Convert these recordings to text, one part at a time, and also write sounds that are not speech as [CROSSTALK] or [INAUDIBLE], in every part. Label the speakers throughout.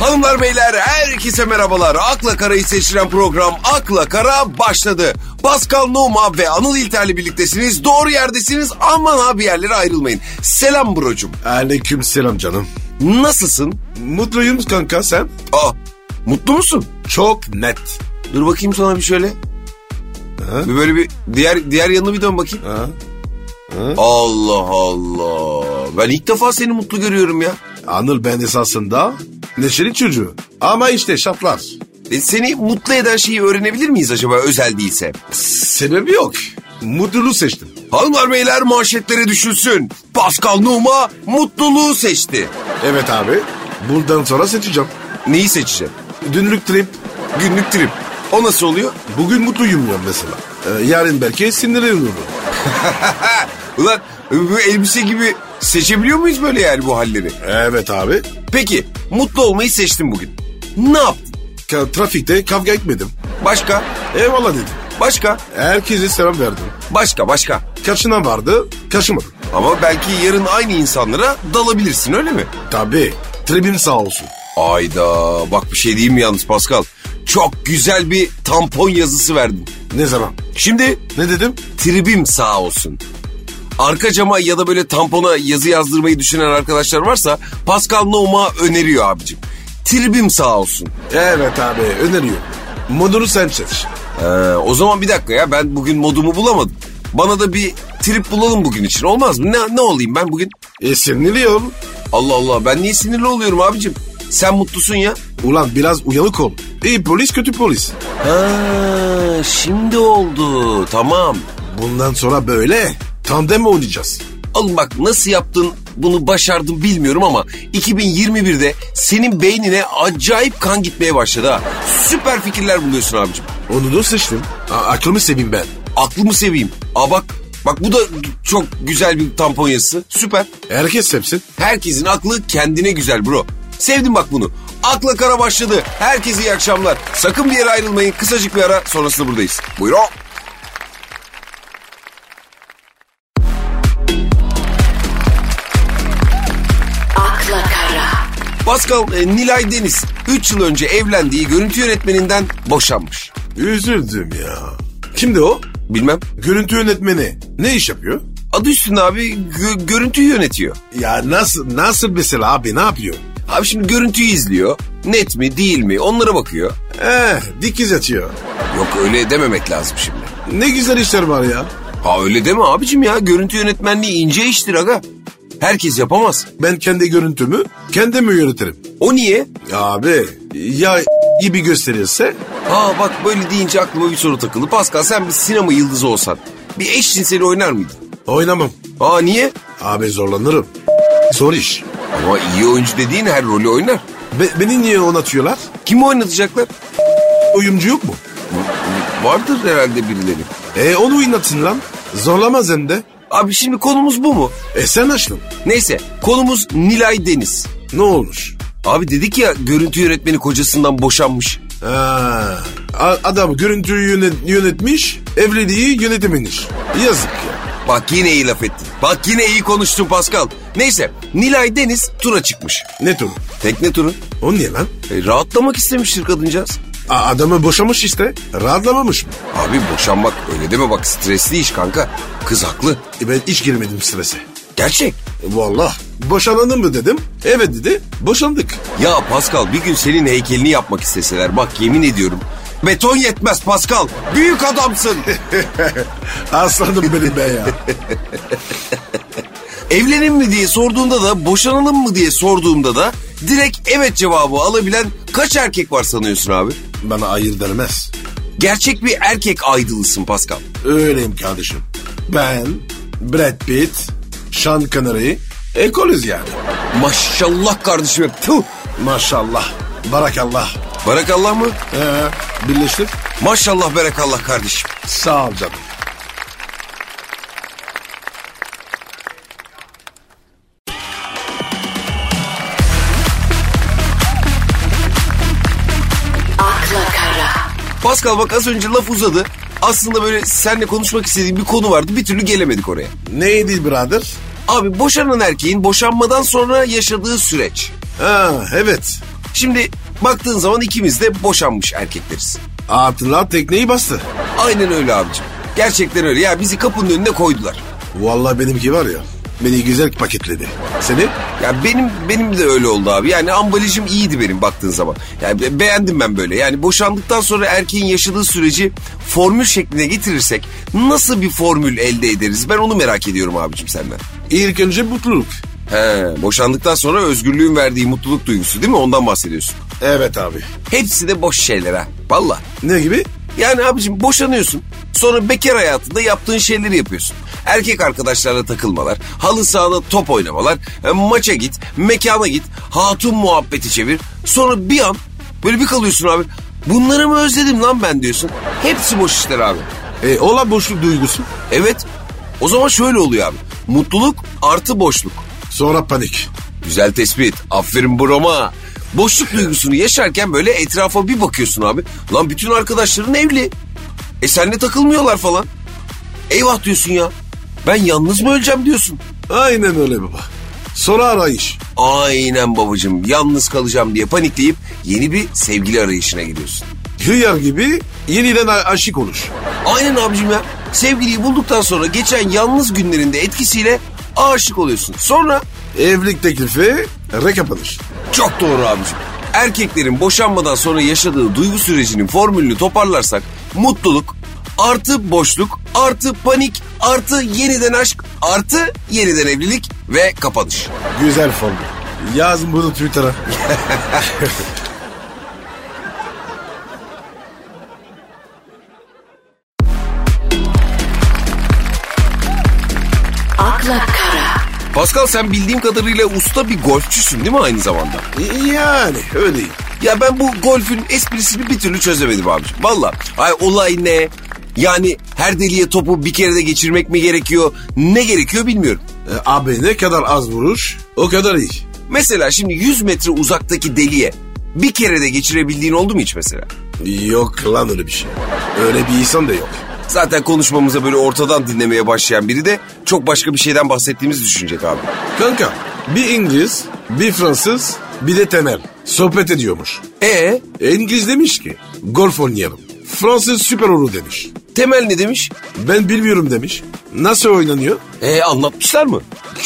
Speaker 1: Hanımlar beyler herkese merhabalar. Akla Kara'yı seçilen program Akla Kara başladı. Pascal Numa ve Anıl İlter'le birliktesiniz. Doğru yerdesiniz aman ha bir yerlere ayrılmayın. Selam brocum.
Speaker 2: Aleyküm selam canım.
Speaker 1: Nasılsın?
Speaker 2: Mutluyum kanka sen?
Speaker 1: Aa Ah, mutlu musun?
Speaker 2: Çok net.
Speaker 1: Dur bakayım sana bir şöyle. Bir böyle bir diğer diğer yanına bir dön bakayım.
Speaker 2: Ha?
Speaker 1: Allah Allah. Ben ilk defa seni mutlu görüyorum ya.
Speaker 2: Anıl ben esasında neşeli çocuğu. Ama işte şartlar.
Speaker 1: E, seni mutlu eden şeyi öğrenebilir miyiz acaba özel değilse?
Speaker 2: Sebebi yok. Mutluluğu seçtim.
Speaker 1: Hanımlar beyler manşetlere düşünsün. Pascal Numa mutluluğu seçti.
Speaker 2: Evet abi. Buradan sonra seçeceğim.
Speaker 1: Neyi seçeceğim?
Speaker 2: Dünlük trip.
Speaker 1: Günlük trip. O nasıl oluyor?
Speaker 2: Bugün mutluyum ya mesela. Ee, yarın belki sinirlenirim.
Speaker 1: Ulan bu elbise gibi seçebiliyor muyuz böyle yani bu halleri?
Speaker 2: Evet abi.
Speaker 1: Peki mutlu olmayı seçtim bugün. Ne yaptın?
Speaker 2: Ka- trafikte kavga etmedim.
Speaker 1: Başka?
Speaker 2: Eyvallah dedim.
Speaker 1: Başka?
Speaker 2: Herkese selam verdim.
Speaker 1: Başka başka.
Speaker 2: Kaçınan vardı, kaçımadım.
Speaker 1: Ama belki yarın aynı insanlara dalabilirsin öyle mi?
Speaker 2: Tabii. Tribün sağ olsun.
Speaker 1: Ayda bak bir şey diyeyim mi yalnız Pascal? Çok güzel bir tampon yazısı verdin.
Speaker 2: Ne zaman?
Speaker 1: Şimdi
Speaker 2: Ne dedim?
Speaker 1: tribim sağ olsun. Arka cama ya da böyle tampona yazı yazdırmayı düşünen arkadaşlar varsa Pascal Nouma öneriyor abicim. Tribim sağ olsun.
Speaker 2: Evet abi öneriyorum. Modunu sen seç.
Speaker 1: Ee, o zaman bir dakika ya ben bugün modumu bulamadım. Bana da bir trip bulalım bugün için olmaz mı? Ne, ne olayım ben bugün?
Speaker 2: E sinirliyim.
Speaker 1: Allah Allah ben niye sinirli oluyorum abicim? Sen mutlusun ya.
Speaker 2: Ulan biraz uyanık ol. İyi polis kötü polis.
Speaker 1: Ha, şimdi oldu tamam.
Speaker 2: Bundan sonra böyle tandem oynayacağız.
Speaker 1: Al bak nasıl yaptın bunu başardın bilmiyorum ama 2021'de senin beynine acayip kan gitmeye başladı ha. Süper fikirler buluyorsun abicim.
Speaker 2: Onu da seçtim. A- aklımı seveyim ben.
Speaker 1: Aklımı seveyim. Aa bak bak bu da çok güzel bir tampon yazısı. Süper.
Speaker 2: Herkes sevsin.
Speaker 1: Herkesin aklı kendine güzel bro. Sevdim bak bunu. Akla kara başladı. Herkese iyi akşamlar. Sakın bir yere ayrılmayın. Kısacık bir ara sonrasında buradayız. Buyurun.
Speaker 3: Akla Kara.
Speaker 1: Pascal e, Nilay Deniz 3 yıl önce evlendiği görüntü yönetmeninden boşanmış.
Speaker 2: Üzüldüm ya. Kimdi o?
Speaker 1: Bilmem.
Speaker 2: Görüntü yönetmeni. Ne iş yapıyor?
Speaker 1: Adı üstünde abi gö- görüntüyü yönetiyor.
Speaker 2: Ya nasıl nasıl mesela abi ne yapıyor?
Speaker 1: Abi şimdi görüntüyü izliyor. Net mi değil mi onlara bakıyor.
Speaker 2: Eh dikiz atıyor.
Speaker 1: Yok öyle dememek lazım şimdi.
Speaker 2: Ne güzel işler var ya.
Speaker 1: Ha öyle deme abicim ya görüntü yönetmenliği ince iştir aga. Herkes yapamaz.
Speaker 2: Ben kendi görüntümü kendimi yönetirim.
Speaker 1: O niye?
Speaker 2: Abi ya gibi gösterirse
Speaker 1: Ha bak böyle deyince aklıma bir soru takıldı. Pascal sen bir sinema yıldızı olsan bir eşcinseli oynar mıydın?
Speaker 2: oynamam.
Speaker 1: Aa niye?
Speaker 2: Abi zorlanırım. Zor iş.
Speaker 1: Ama iyi oyuncu dediğin her rolü oynar.
Speaker 2: Be- beni niye oynatıyorlar?
Speaker 1: Kimi oynatacaklar?
Speaker 2: Oyuncu yok mu?
Speaker 1: Vardır herhalde birileri.
Speaker 2: E onu oynatsın lan. Zorlamaz hem de.
Speaker 1: Abi şimdi konumuz bu mu?
Speaker 2: E sen açtın.
Speaker 1: Neyse konumuz Nilay Deniz.
Speaker 2: Ne olmuş?
Speaker 1: Abi dedik ya görüntü yönetmeni kocasından boşanmış.
Speaker 2: Ha, a- adam görüntüyü yönet- yönetmiş, evliliği yönetememiş. Yazık ya.
Speaker 1: Bak yine iyi laf ettin. Bak yine iyi konuştun Pascal. Neyse Nilay Deniz tura çıkmış.
Speaker 2: Ne turu?
Speaker 1: Tekne turu.
Speaker 2: O niye lan?
Speaker 1: E, rahatlamak istemiştir kadıncağız.
Speaker 2: A- adamı boşamış işte. Rahatlamamış mı?
Speaker 1: Abi boşanmak öyle deme bak stresli iş kanka. Kız haklı.
Speaker 2: E ben hiç girmedim strese. E,
Speaker 1: Gerçek.
Speaker 2: Vallahi. Boşanalım mı dedim. Evet dedi. Boşandık.
Speaker 1: Ya Pascal bir gün senin heykelini yapmak isteseler bak yemin ediyorum. Beton yetmez Pascal. Büyük adamsın.
Speaker 2: Aslanım benim be ya.
Speaker 1: Evlenin mi diye sorduğunda da boşanalım mı diye sorduğumda da direkt evet cevabı alabilen kaç erkek var sanıyorsun abi?
Speaker 2: [LAUGHS] Bana ayır denmez.
Speaker 1: Gerçek bir erkek aydılısın Pascal.
Speaker 2: Öyleyim kardeşim. Ben, Brad Pitt, Sean Connery, ekolüz yani.
Speaker 1: Maşallah kardeşim. Tüh.
Speaker 2: Maşallah, barakallah.
Speaker 1: Barakallah mı?
Speaker 2: Ee, birleştik.
Speaker 1: Maşallah berekallah kardeşim.
Speaker 2: Sağ ol canım.
Speaker 3: Akla Kara.
Speaker 1: Pascal bak az önce laf uzadı. Aslında böyle seninle konuşmak istediğim bir konu vardı. Bir türlü gelemedik oraya.
Speaker 2: Neydi birader?
Speaker 1: Abi boşanan erkeğin boşanmadan sonra yaşadığı süreç.
Speaker 2: Ha, evet.
Speaker 1: Şimdi baktığın zaman ikimiz de boşanmış erkekleriz.
Speaker 2: Atlar tekneyi bastı.
Speaker 1: Aynen öyle abicim. Gerçekten öyle. Ya bizi kapının önüne koydular.
Speaker 2: Vallahi benimki var ya beni güzel paketledi. Seni?
Speaker 1: Ya benim benim de öyle oldu abi. Yani ambalajım iyiydi benim baktığın zaman. Yani be- beğendim ben böyle. Yani boşandıktan sonra erkeğin yaşadığı süreci formül şekline getirirsek nasıl bir formül elde ederiz? Ben onu merak ediyorum abicim senden.
Speaker 2: İlk önce mutluluk.
Speaker 1: He, boşandıktan sonra özgürlüğün verdiği mutluluk duygusu değil mi? Ondan bahsediyorsun.
Speaker 2: Evet abi.
Speaker 1: Hepsi de boş şeyler ha. Valla.
Speaker 2: Ne gibi?
Speaker 1: Yani abicim boşanıyorsun. Sonra bekar hayatında yaptığın şeyleri yapıyorsun. Erkek arkadaşlarla takılmalar, halı sahada top oynamalar, e, maça git, mekana git, hatun muhabbeti çevir. Sonra bir an böyle bir kalıyorsun abi. Bunları mı özledim lan ben diyorsun. Hepsi boş işler abi.
Speaker 2: E, ola boşluk duygusu.
Speaker 1: Evet. O zaman şöyle oluyor abi. Mutluluk artı boşluk.
Speaker 2: Sonra panik.
Speaker 1: Güzel tespit. Aferin broma. Boşluk duygusunu yaşarken böyle etrafa bir bakıyorsun abi. Lan bütün arkadaşların evli. E senle takılmıyorlar falan. Eyvah diyorsun ya. Ben yalnız mı öleceğim diyorsun.
Speaker 2: Aynen öyle baba. Sonra arayış.
Speaker 1: Aynen babacığım yalnız kalacağım diye panikleyip yeni bir sevgili arayışına gidiyorsun.
Speaker 2: Hıyar gibi yeniden a- aşık olur.
Speaker 1: Aynen abicim ya. Sevgiliyi bulduktan sonra geçen yalnız günlerinde etkisiyle aşık oluyorsun. Sonra
Speaker 2: Evlilik teklifi rekapanır.
Speaker 1: Çok doğru abicim. Erkeklerin boşanmadan sonra yaşadığı duygu sürecinin formülünü toparlarsak mutluluk artı boşluk artı panik artı yeniden aşk artı yeniden evlilik ve kapanış.
Speaker 2: Güzel formül. Yazın bunu Twitter'a.
Speaker 3: akla kara,
Speaker 1: Pascal sen bildiğim kadarıyla usta bir golfçüsün değil mi aynı zamanda?
Speaker 2: Yani öyleyim.
Speaker 1: Ya ben bu golfün esprisini bir türlü çözemedim abicim. Valla ay olay ne? Yani her deliğe topu bir kere de geçirmek mi gerekiyor? Ne gerekiyor bilmiyorum.
Speaker 2: E, abi ne kadar az vuruş o kadar iyi.
Speaker 1: Mesela şimdi 100 metre uzaktaki deliğe bir kere de geçirebildiğin oldu mu hiç mesela?
Speaker 2: Yok lan öyle bir şey. Öyle bir insan da yok.
Speaker 1: Zaten konuşmamıza böyle ortadan dinlemeye başlayan biri de çok başka bir şeyden bahsettiğimizi düşünecek abi.
Speaker 2: Kanka bir İngiliz, bir Fransız, bir de Temel sohbet ediyormuş.
Speaker 1: E
Speaker 2: E, İngiliz demiş ki golf oynayalım. Fransız süper olur demiş.
Speaker 1: Temel ne demiş?
Speaker 2: Ben bilmiyorum demiş. Nasıl oynanıyor?
Speaker 1: E anlatmışlar mı?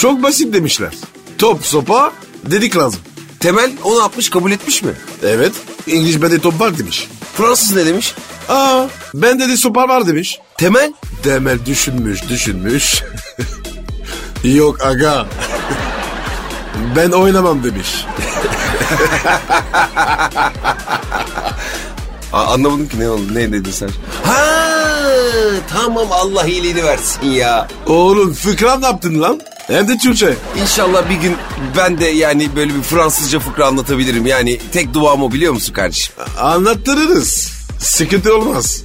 Speaker 2: Çok basit demişler. Top sopa dedik lazım.
Speaker 1: Temel onu atmış kabul etmiş mi?
Speaker 2: Evet İngiliz bende top var demiş.
Speaker 1: Fransız ne demiş?
Speaker 2: Aa ben dedi sopa var demiş.
Speaker 1: Temel
Speaker 2: Demel düşünmüş düşünmüş. [LAUGHS] Yok aga. [LAUGHS] ben oynamam demiş.
Speaker 1: Aa, anlamadım ki ne oldu ne dedin sen? Ha tamam Allah iyiliğini versin ya.
Speaker 2: Oğlum fıkra ne yaptın lan? Hem de Türkçe.
Speaker 1: İnşallah bir gün ben de yani böyle bir Fransızca fıkra anlatabilirim. Yani tek duam o biliyor musun kardeşim?
Speaker 2: Anlattırırız. Sıkıntı olmaz.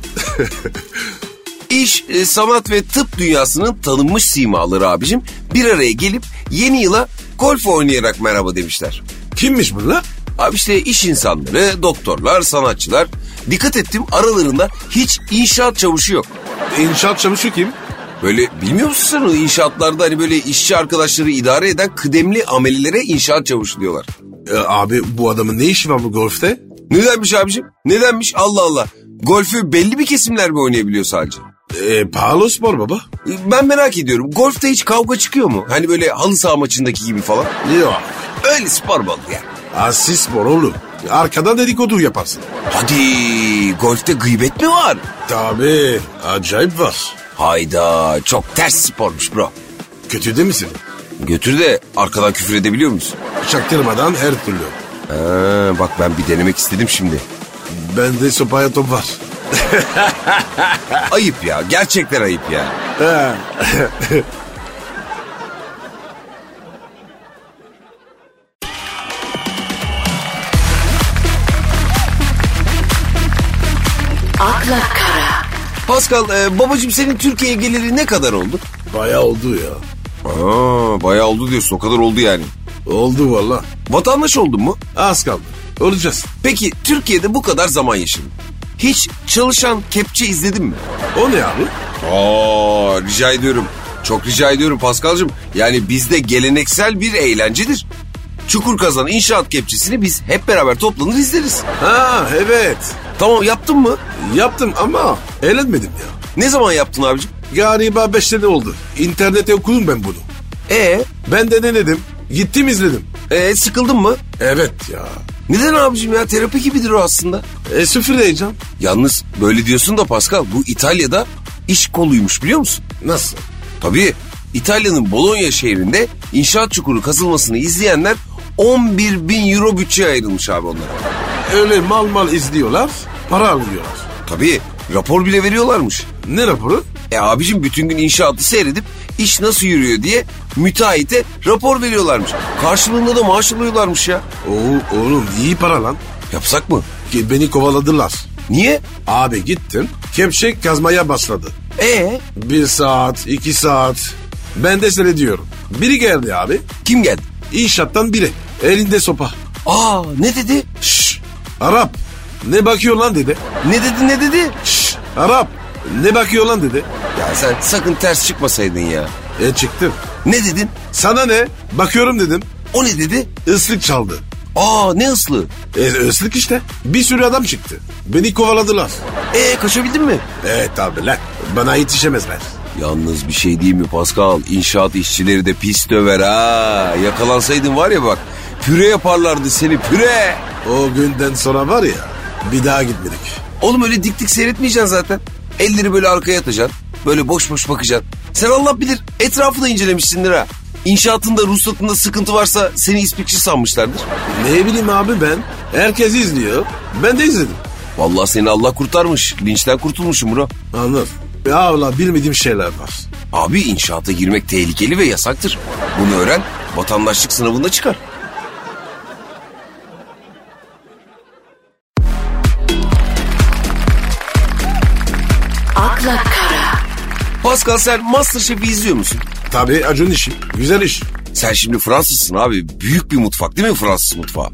Speaker 2: [LAUGHS]
Speaker 1: İş, e, sanat ve tıp dünyasının tanınmış simaları abicim bir araya gelip yeni yıla golf oynayarak merhaba demişler.
Speaker 2: Kimmiş bunlar?
Speaker 1: Abi işte iş insanları, doktorlar, sanatçılar. Dikkat ettim aralarında hiç inşaat çavuşu yok.
Speaker 2: İnşaat çavuşu kim?
Speaker 1: Böyle bilmiyor musun sen o inşaatlarda hani böyle işçi arkadaşları idare eden kıdemli amelilere inşaat çavuşu diyorlar.
Speaker 2: E, abi bu adamın ne işi var bu golfte?
Speaker 1: Nedenmiş abicim? Nedenmiş? Allah Allah. Golfü belli bir kesimler mi oynayabiliyor sadece? E,
Speaker 2: E, pahalı spor baba.
Speaker 1: Ben merak ediyorum. Golfte hiç kavga çıkıyor mu? Hani böyle halı saha maçındaki gibi falan.
Speaker 2: Yok.
Speaker 1: Öyle spor balı ya.
Speaker 2: Asis spor oğlum. Arkadan dedikodu yaparsın.
Speaker 1: Hadi golfte gıybet mi var?
Speaker 2: Tabii. Acayip var.
Speaker 1: Hayda çok ters spormuş bro.
Speaker 2: Kötü değil misin?
Speaker 1: Götür de arkadan küfür edebiliyor musun?
Speaker 2: Çaktırmadan her türlü.
Speaker 1: Ha, bak ben bir denemek istedim şimdi.
Speaker 2: Bende sopaya top var.
Speaker 1: [LAUGHS] Ayıp ya gerçekten ayıp ya.
Speaker 2: He.
Speaker 3: akla kara,
Speaker 1: Pascal e, babacım senin Türkiye'ye geliri ne kadar oldu?
Speaker 2: Bayağı oldu ya.
Speaker 1: Aa, bayağı oldu diyorsun o kadar oldu yani.
Speaker 2: Oldu valla.
Speaker 1: Vatandaş oldun mu?
Speaker 2: Az kaldı. Olacağız.
Speaker 1: Peki Türkiye'de bu kadar zaman yaşadın. Hiç çalışan kepçe izledin mi?
Speaker 2: O ne abi?
Speaker 1: Aa, rica ediyorum. Çok rica ediyorum Paskal'cığım. Yani bizde geleneksel bir eğlencedir. Çukur Kazan inşaat kepçesini biz hep beraber toplanır izleriz.
Speaker 2: Ha evet.
Speaker 1: Tamam yaptın mı?
Speaker 2: Yaptım ama eğlenmedim ya.
Speaker 1: Ne zaman yaptın abicim?
Speaker 2: Galiba 5 sene oldu. İnternette okudum ben bunu.
Speaker 1: E
Speaker 2: Ben de denedim. Gittim izledim.
Speaker 1: e sıkıldın mı?
Speaker 2: Evet ya.
Speaker 1: Neden abicim ya terapi gibidir o aslında.
Speaker 2: E sıfır heyecan.
Speaker 1: Yalnız böyle diyorsun da Pascal bu İtalya'da iş koluymuş biliyor musun?
Speaker 2: Nasıl?
Speaker 1: Tabii İtalya'nın Bologna şehrinde inşaat çukuru kazılmasını izleyenler 11 bin euro bütçe ayrılmış abi onlara.
Speaker 2: Öyle mal mal izliyorlar. Para alıyorlar.
Speaker 1: Tabii rapor bile veriyorlarmış.
Speaker 2: Ne raporu?
Speaker 1: E abicim bütün gün inşaatı seyredip iş nasıl yürüyor diye müteahhite rapor veriyorlarmış. Karşılığında da maaş alıyorlarmış ya.
Speaker 2: Oo, oğlum iyi para lan.
Speaker 1: Yapsak mı?
Speaker 2: Ki beni kovaladılar.
Speaker 1: Niye?
Speaker 2: Abi gittim. Kepçe kazmaya başladı.
Speaker 1: E
Speaker 2: Bir saat, iki saat. Ben de seni diyorum. Biri geldi abi.
Speaker 1: kim geldi?
Speaker 2: İnşaattan biri. Elinde sopa.
Speaker 1: Aa ne dedi?
Speaker 2: Şşş. Arap. Ne bakıyor lan dedi.
Speaker 1: Ne dedi ne dedi?
Speaker 2: Şşş. Arap. Ne bakıyor lan dedi.
Speaker 1: Ya sen sakın ters çıkmasaydın ya.
Speaker 2: E çıktım.
Speaker 1: Ne dedin?
Speaker 2: Sana ne? Bakıyorum dedim.
Speaker 1: O ne dedi?
Speaker 2: Islık çaldı.
Speaker 1: Aa ne ıslı?
Speaker 2: E, ıslık işte. Bir sürü adam çıktı. Beni kovaladılar.
Speaker 1: E kaçabildin mi?
Speaker 2: Evet abi lan. Bana yetişemezler.
Speaker 1: Yalnız bir şey değil mi Pascal? İnşaat işçileri de pis döver ha. Yakalansaydın var ya bak püre yaparlardı seni püre.
Speaker 2: O günden sonra var ya bir daha gitmedik.
Speaker 1: Oğlum öyle dik dik seyretmeyeceksin zaten. Elleri böyle arkaya atacaksın. Böyle boş boş bakacaksın. Sen Allah bilir etrafı da incelemişsindir ha. İnşaatında ruhsatında sıkıntı varsa seni ispikçi sanmışlardır.
Speaker 2: Ne bileyim abi ben. Herkes izliyor. Ben de izledim.
Speaker 1: Vallahi seni Allah kurtarmış. Linçten kurtulmuşum bro.
Speaker 2: Anladım. Ya valla bilmediğim şeyler var.
Speaker 1: Abi inşaata girmek tehlikeli ve yasaktır. Bunu öğren vatandaşlık sınavında çıkar.
Speaker 3: akla kara,
Speaker 1: Pascal sen Masterchef'i izliyor musun?
Speaker 2: Tabii Acun işi. Güzel iş.
Speaker 1: Sen şimdi Fransızsın abi. Büyük bir mutfak değil mi Fransız mutfağı?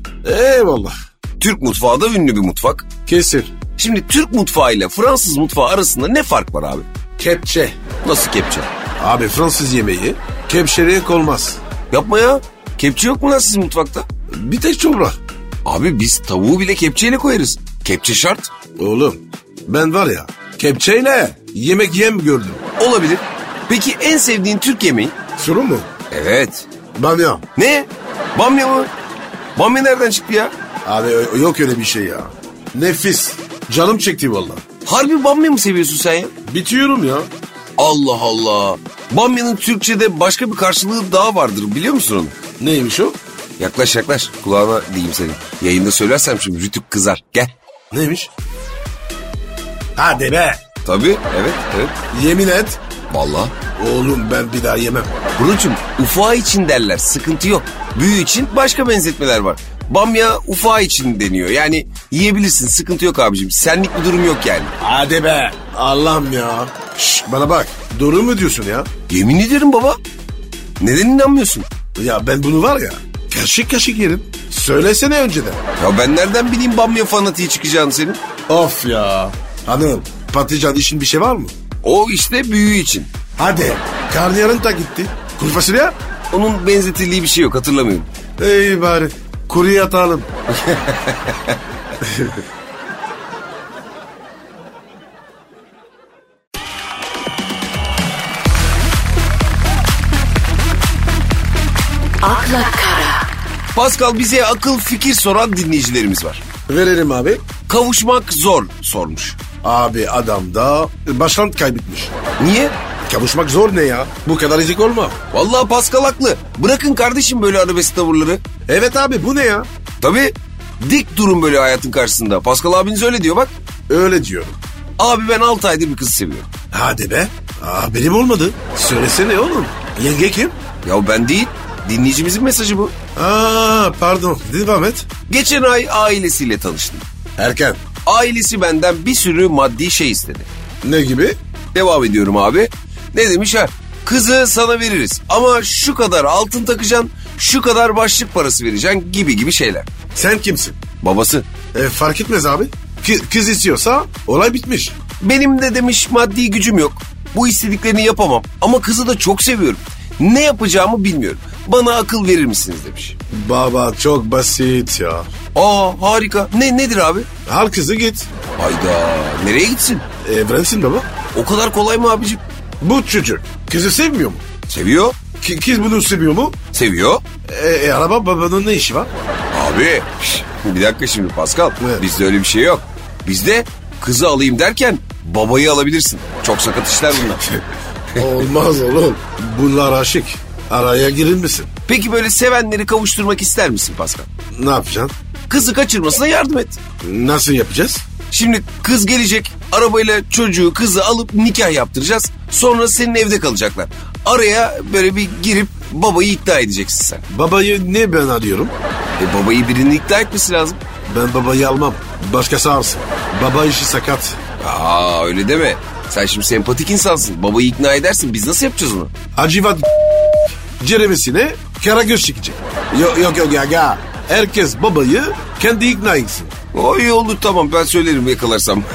Speaker 2: Eyvallah.
Speaker 1: Türk mutfağı da ünlü bir mutfak.
Speaker 2: Kesir.
Speaker 1: Şimdi Türk mutfağı ile Fransız mutfağı arasında ne fark var abi?
Speaker 2: Kepçe.
Speaker 1: Nasıl kepçe?
Speaker 2: Abi Fransız yemeği kepçeliğe olmaz.
Speaker 1: Yapma ya. Kepçe yok mu lan sizin mutfakta?
Speaker 2: Bir tek çorba.
Speaker 1: Abi biz tavuğu bile kepçeyle koyarız. Kepçe şart.
Speaker 2: Oğlum ben var ya kepçeyle yemek yem gördüm.
Speaker 1: Olabilir. Peki en sevdiğin Türk yemeği?
Speaker 2: Sorun mu?
Speaker 1: Evet.
Speaker 2: Bamya.
Speaker 1: Ne? Bamya mı? Bamya nereden çıktı ya?
Speaker 2: Abi ö- yok öyle bir şey ya. Nefis. Canım çekti valla.
Speaker 1: Harbi bamya mı seviyorsun sen ya?
Speaker 2: Bitiyorum ya.
Speaker 1: Allah Allah. Bamyanın Türkçe'de başka bir karşılığı daha vardır biliyor musun onu?
Speaker 2: Neymiş o?
Speaker 1: Yaklaş yaklaş kulağına diyeyim senin. Yayında söylersem şimdi rütük kızar. Gel.
Speaker 2: Neymiş? Hadi be.
Speaker 1: Tabii evet evet.
Speaker 2: Yemin et.
Speaker 1: Vallahi.
Speaker 2: Oğlum ben bir daha yemem.
Speaker 1: Burucum ufağı için derler sıkıntı yok. Büyü için başka benzetmeler var. Bamya ufağı için deniyor. Yani yiyebilirsin sıkıntı yok abicim. Senlik bir durum yok yani.
Speaker 2: Hadi be. Allah'ım ya. Şş, bana bak. Doğru mu diyorsun ya?
Speaker 1: Yemin ederim baba. Neden inanmıyorsun?
Speaker 2: Ya ben bunu var ya. Kaşık kaşık yerim. Söylesene önceden.
Speaker 1: Ya ben nereden bileyim bamya fanatiği çıkacağını senin?
Speaker 2: Of ya. Hanım patlıcan işin bir şey var mı?
Speaker 1: O işte büyü için.
Speaker 2: Hadi. Karnıyarın da gitti. Kuru fasulye?
Speaker 1: Onun benzetildiği bir şey yok hatırlamıyorum.
Speaker 2: Ey bari. Kuruya atalım.
Speaker 3: akla kara,
Speaker 1: Pascal bize akıl fikir soran dinleyicilerimiz var.
Speaker 2: Verelim abi.
Speaker 1: Kavuşmak zor sormuş.
Speaker 2: Abi adam da başkan kaybetmiş.
Speaker 1: Niye?
Speaker 2: Kavuşmak zor ne ya? Bu kadar ezik olma.
Speaker 1: Vallahi Pascal haklı. Bırakın kardeşim böyle arabesk tavırları.
Speaker 2: Evet abi bu ne ya?
Speaker 1: Tabii dik durun böyle hayatın karşısında. Pascal abiniz öyle diyor bak.
Speaker 2: Öyle diyorum.
Speaker 1: Abi ben 6 aydır bir kızı seviyorum.
Speaker 2: Hadi be. Aa, benim olmadı. Söylesene oğlum. Yenge kim?
Speaker 1: Ya ben değil. Dinleyicimizin mesajı bu.
Speaker 2: Aa pardon. Devam et.
Speaker 1: Geçen ay ailesiyle tanıştım.
Speaker 2: Erken.
Speaker 1: Ailesi benden bir sürü maddi şey istedi.
Speaker 2: Ne gibi?
Speaker 1: Devam ediyorum abi. Ne demiş ha? Kızı sana veririz ama şu kadar altın takacaksın, şu kadar başlık parası vereceksin gibi gibi şeyler.
Speaker 2: Sen kimsin?
Speaker 1: Babası
Speaker 2: E, fark etmez abi. Kız, kız istiyorsa olay bitmiş.
Speaker 1: Benim de demiş maddi gücüm yok. Bu istediklerini yapamam ama kızı da çok seviyorum. Ne yapacağımı bilmiyorum. Bana akıl verir misiniz demiş.
Speaker 2: Baba çok basit ya.
Speaker 1: Aa harika. Ne nedir abi?
Speaker 2: Al kızı git.
Speaker 1: Hayda. Nereye gitsin?
Speaker 2: Evlensin baba.
Speaker 1: O kadar kolay mı abicim?
Speaker 2: Bu çocuk kızı sevmiyor mu?
Speaker 1: Seviyor.
Speaker 2: Ki, kız bunu seviyor mu?
Speaker 1: Seviyor.
Speaker 2: E, e, araba babanın ne işi var?
Speaker 1: Abi şş, bir dakika şimdi Pascal.
Speaker 2: Evet.
Speaker 1: Bizde öyle bir şey yok. Bizde kızı alayım derken babayı alabilirsin. Çok sakat işler bunlar.
Speaker 2: [LAUGHS] Olmaz oğlum. Bunlar aşık. Araya girilmesin.
Speaker 1: Peki böyle sevenleri kavuşturmak ister misin Pascal?
Speaker 2: Ne yapacaksın?
Speaker 1: Kızı kaçırmasına yardım et.
Speaker 2: Nasıl yapacağız?
Speaker 1: Şimdi kız gelecek arabayla çocuğu kızı alıp nikah yaptıracağız. Sonra senin evde kalacaklar. Araya böyle bir girip babayı ikna edeceksin sen.
Speaker 2: Babayı ne ben arıyorum?
Speaker 1: E babayı birinin ikna etmesi lazım.
Speaker 2: Ben babayı almam. Başkası alsın. Baba işi sakat.
Speaker 1: Aa öyle deme. Sen şimdi sempatik insansın. Babayı ikna edersin. Biz nasıl yapacağız onu?
Speaker 2: Hacivat ceremesine karagöz çekecek. Yok yok yok ya ya. Herkes babayı kendi ikna etsin.
Speaker 1: O iyi olur tamam ben söylerim yakalarsam. [LAUGHS]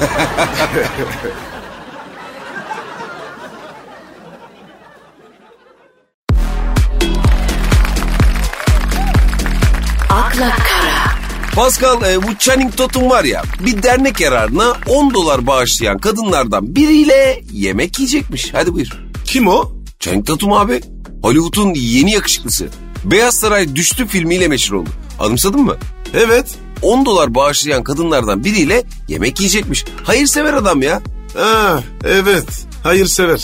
Speaker 3: akla kara,
Speaker 1: Pascal e, bu Channing Tatum var ya bir dernek yararına 10 dolar bağışlayan kadınlardan biriyle yemek yiyecekmiş. Hadi buyur.
Speaker 2: Kim o?
Speaker 1: Channing Tatum abi Hollywood'un yeni yakışıklısı. Beyaz Saray Düştü filmiyle meşhur oldu. Anımsadın mı?
Speaker 2: Evet.
Speaker 1: 10 dolar bağışlayan kadınlardan biriyle yemek yiyecekmiş. Hayırsever adam ya.
Speaker 2: Ha, evet. Hayırsever.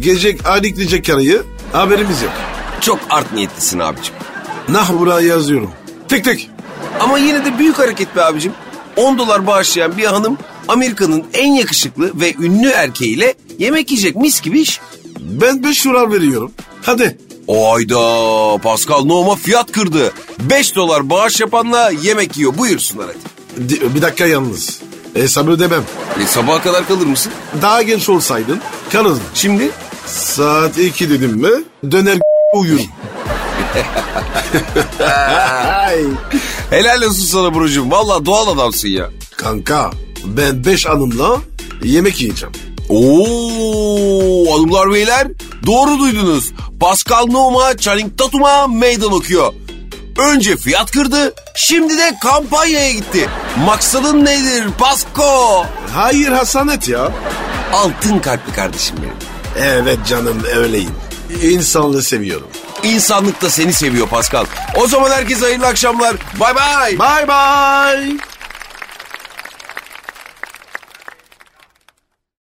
Speaker 2: Gece alikleyecek karıyı haberimiz yok.
Speaker 1: Çok art niyetlisin abicim.
Speaker 2: Nah buraya yazıyorum. Tık tık.
Speaker 1: Ama yine de büyük hareket be abicim. 10 dolar bağışlayan bir hanım Amerika'nın en yakışıklı ve ünlü erkeğiyle yemek yiyecek mis gibi iş.
Speaker 2: Ben 5 dolar veriyorum. Hadi.
Speaker 1: Ayda Pascal Nohma fiyat kırdı. 5 dolar bağış yapanla yemek yiyor buyursunlar hadi.
Speaker 2: Di- Bir dakika yalnız. Hesabı ödemem.
Speaker 1: E, sabaha kadar kalır mısın?
Speaker 2: Daha genç olsaydın kalırdın.
Speaker 1: Şimdi
Speaker 2: Saat 2 dedim mi döner [LAUGHS] uyurum. Ay.
Speaker 1: helal olsun sana Burcu'cum. Valla doğal adamsın ya.
Speaker 2: Kanka ben 5 hanımla yemek yiyeceğim.
Speaker 1: Oo hanımlar beyler doğru duydunuz. Pascal Nohma Channing Tatum'a meydan okuyor. Önce fiyat kırdı, şimdi de kampanyaya gitti. Maksadın nedir Pasko?
Speaker 2: Hayır Hasanet ya.
Speaker 1: Altın kalpli kardeşim benim.
Speaker 2: Evet canım öyleyim. İnsanlığı seviyorum.
Speaker 1: İnsanlık da seni seviyor Pascal. O zaman herkese hayırlı akşamlar. Bay bay.
Speaker 2: Bye bye.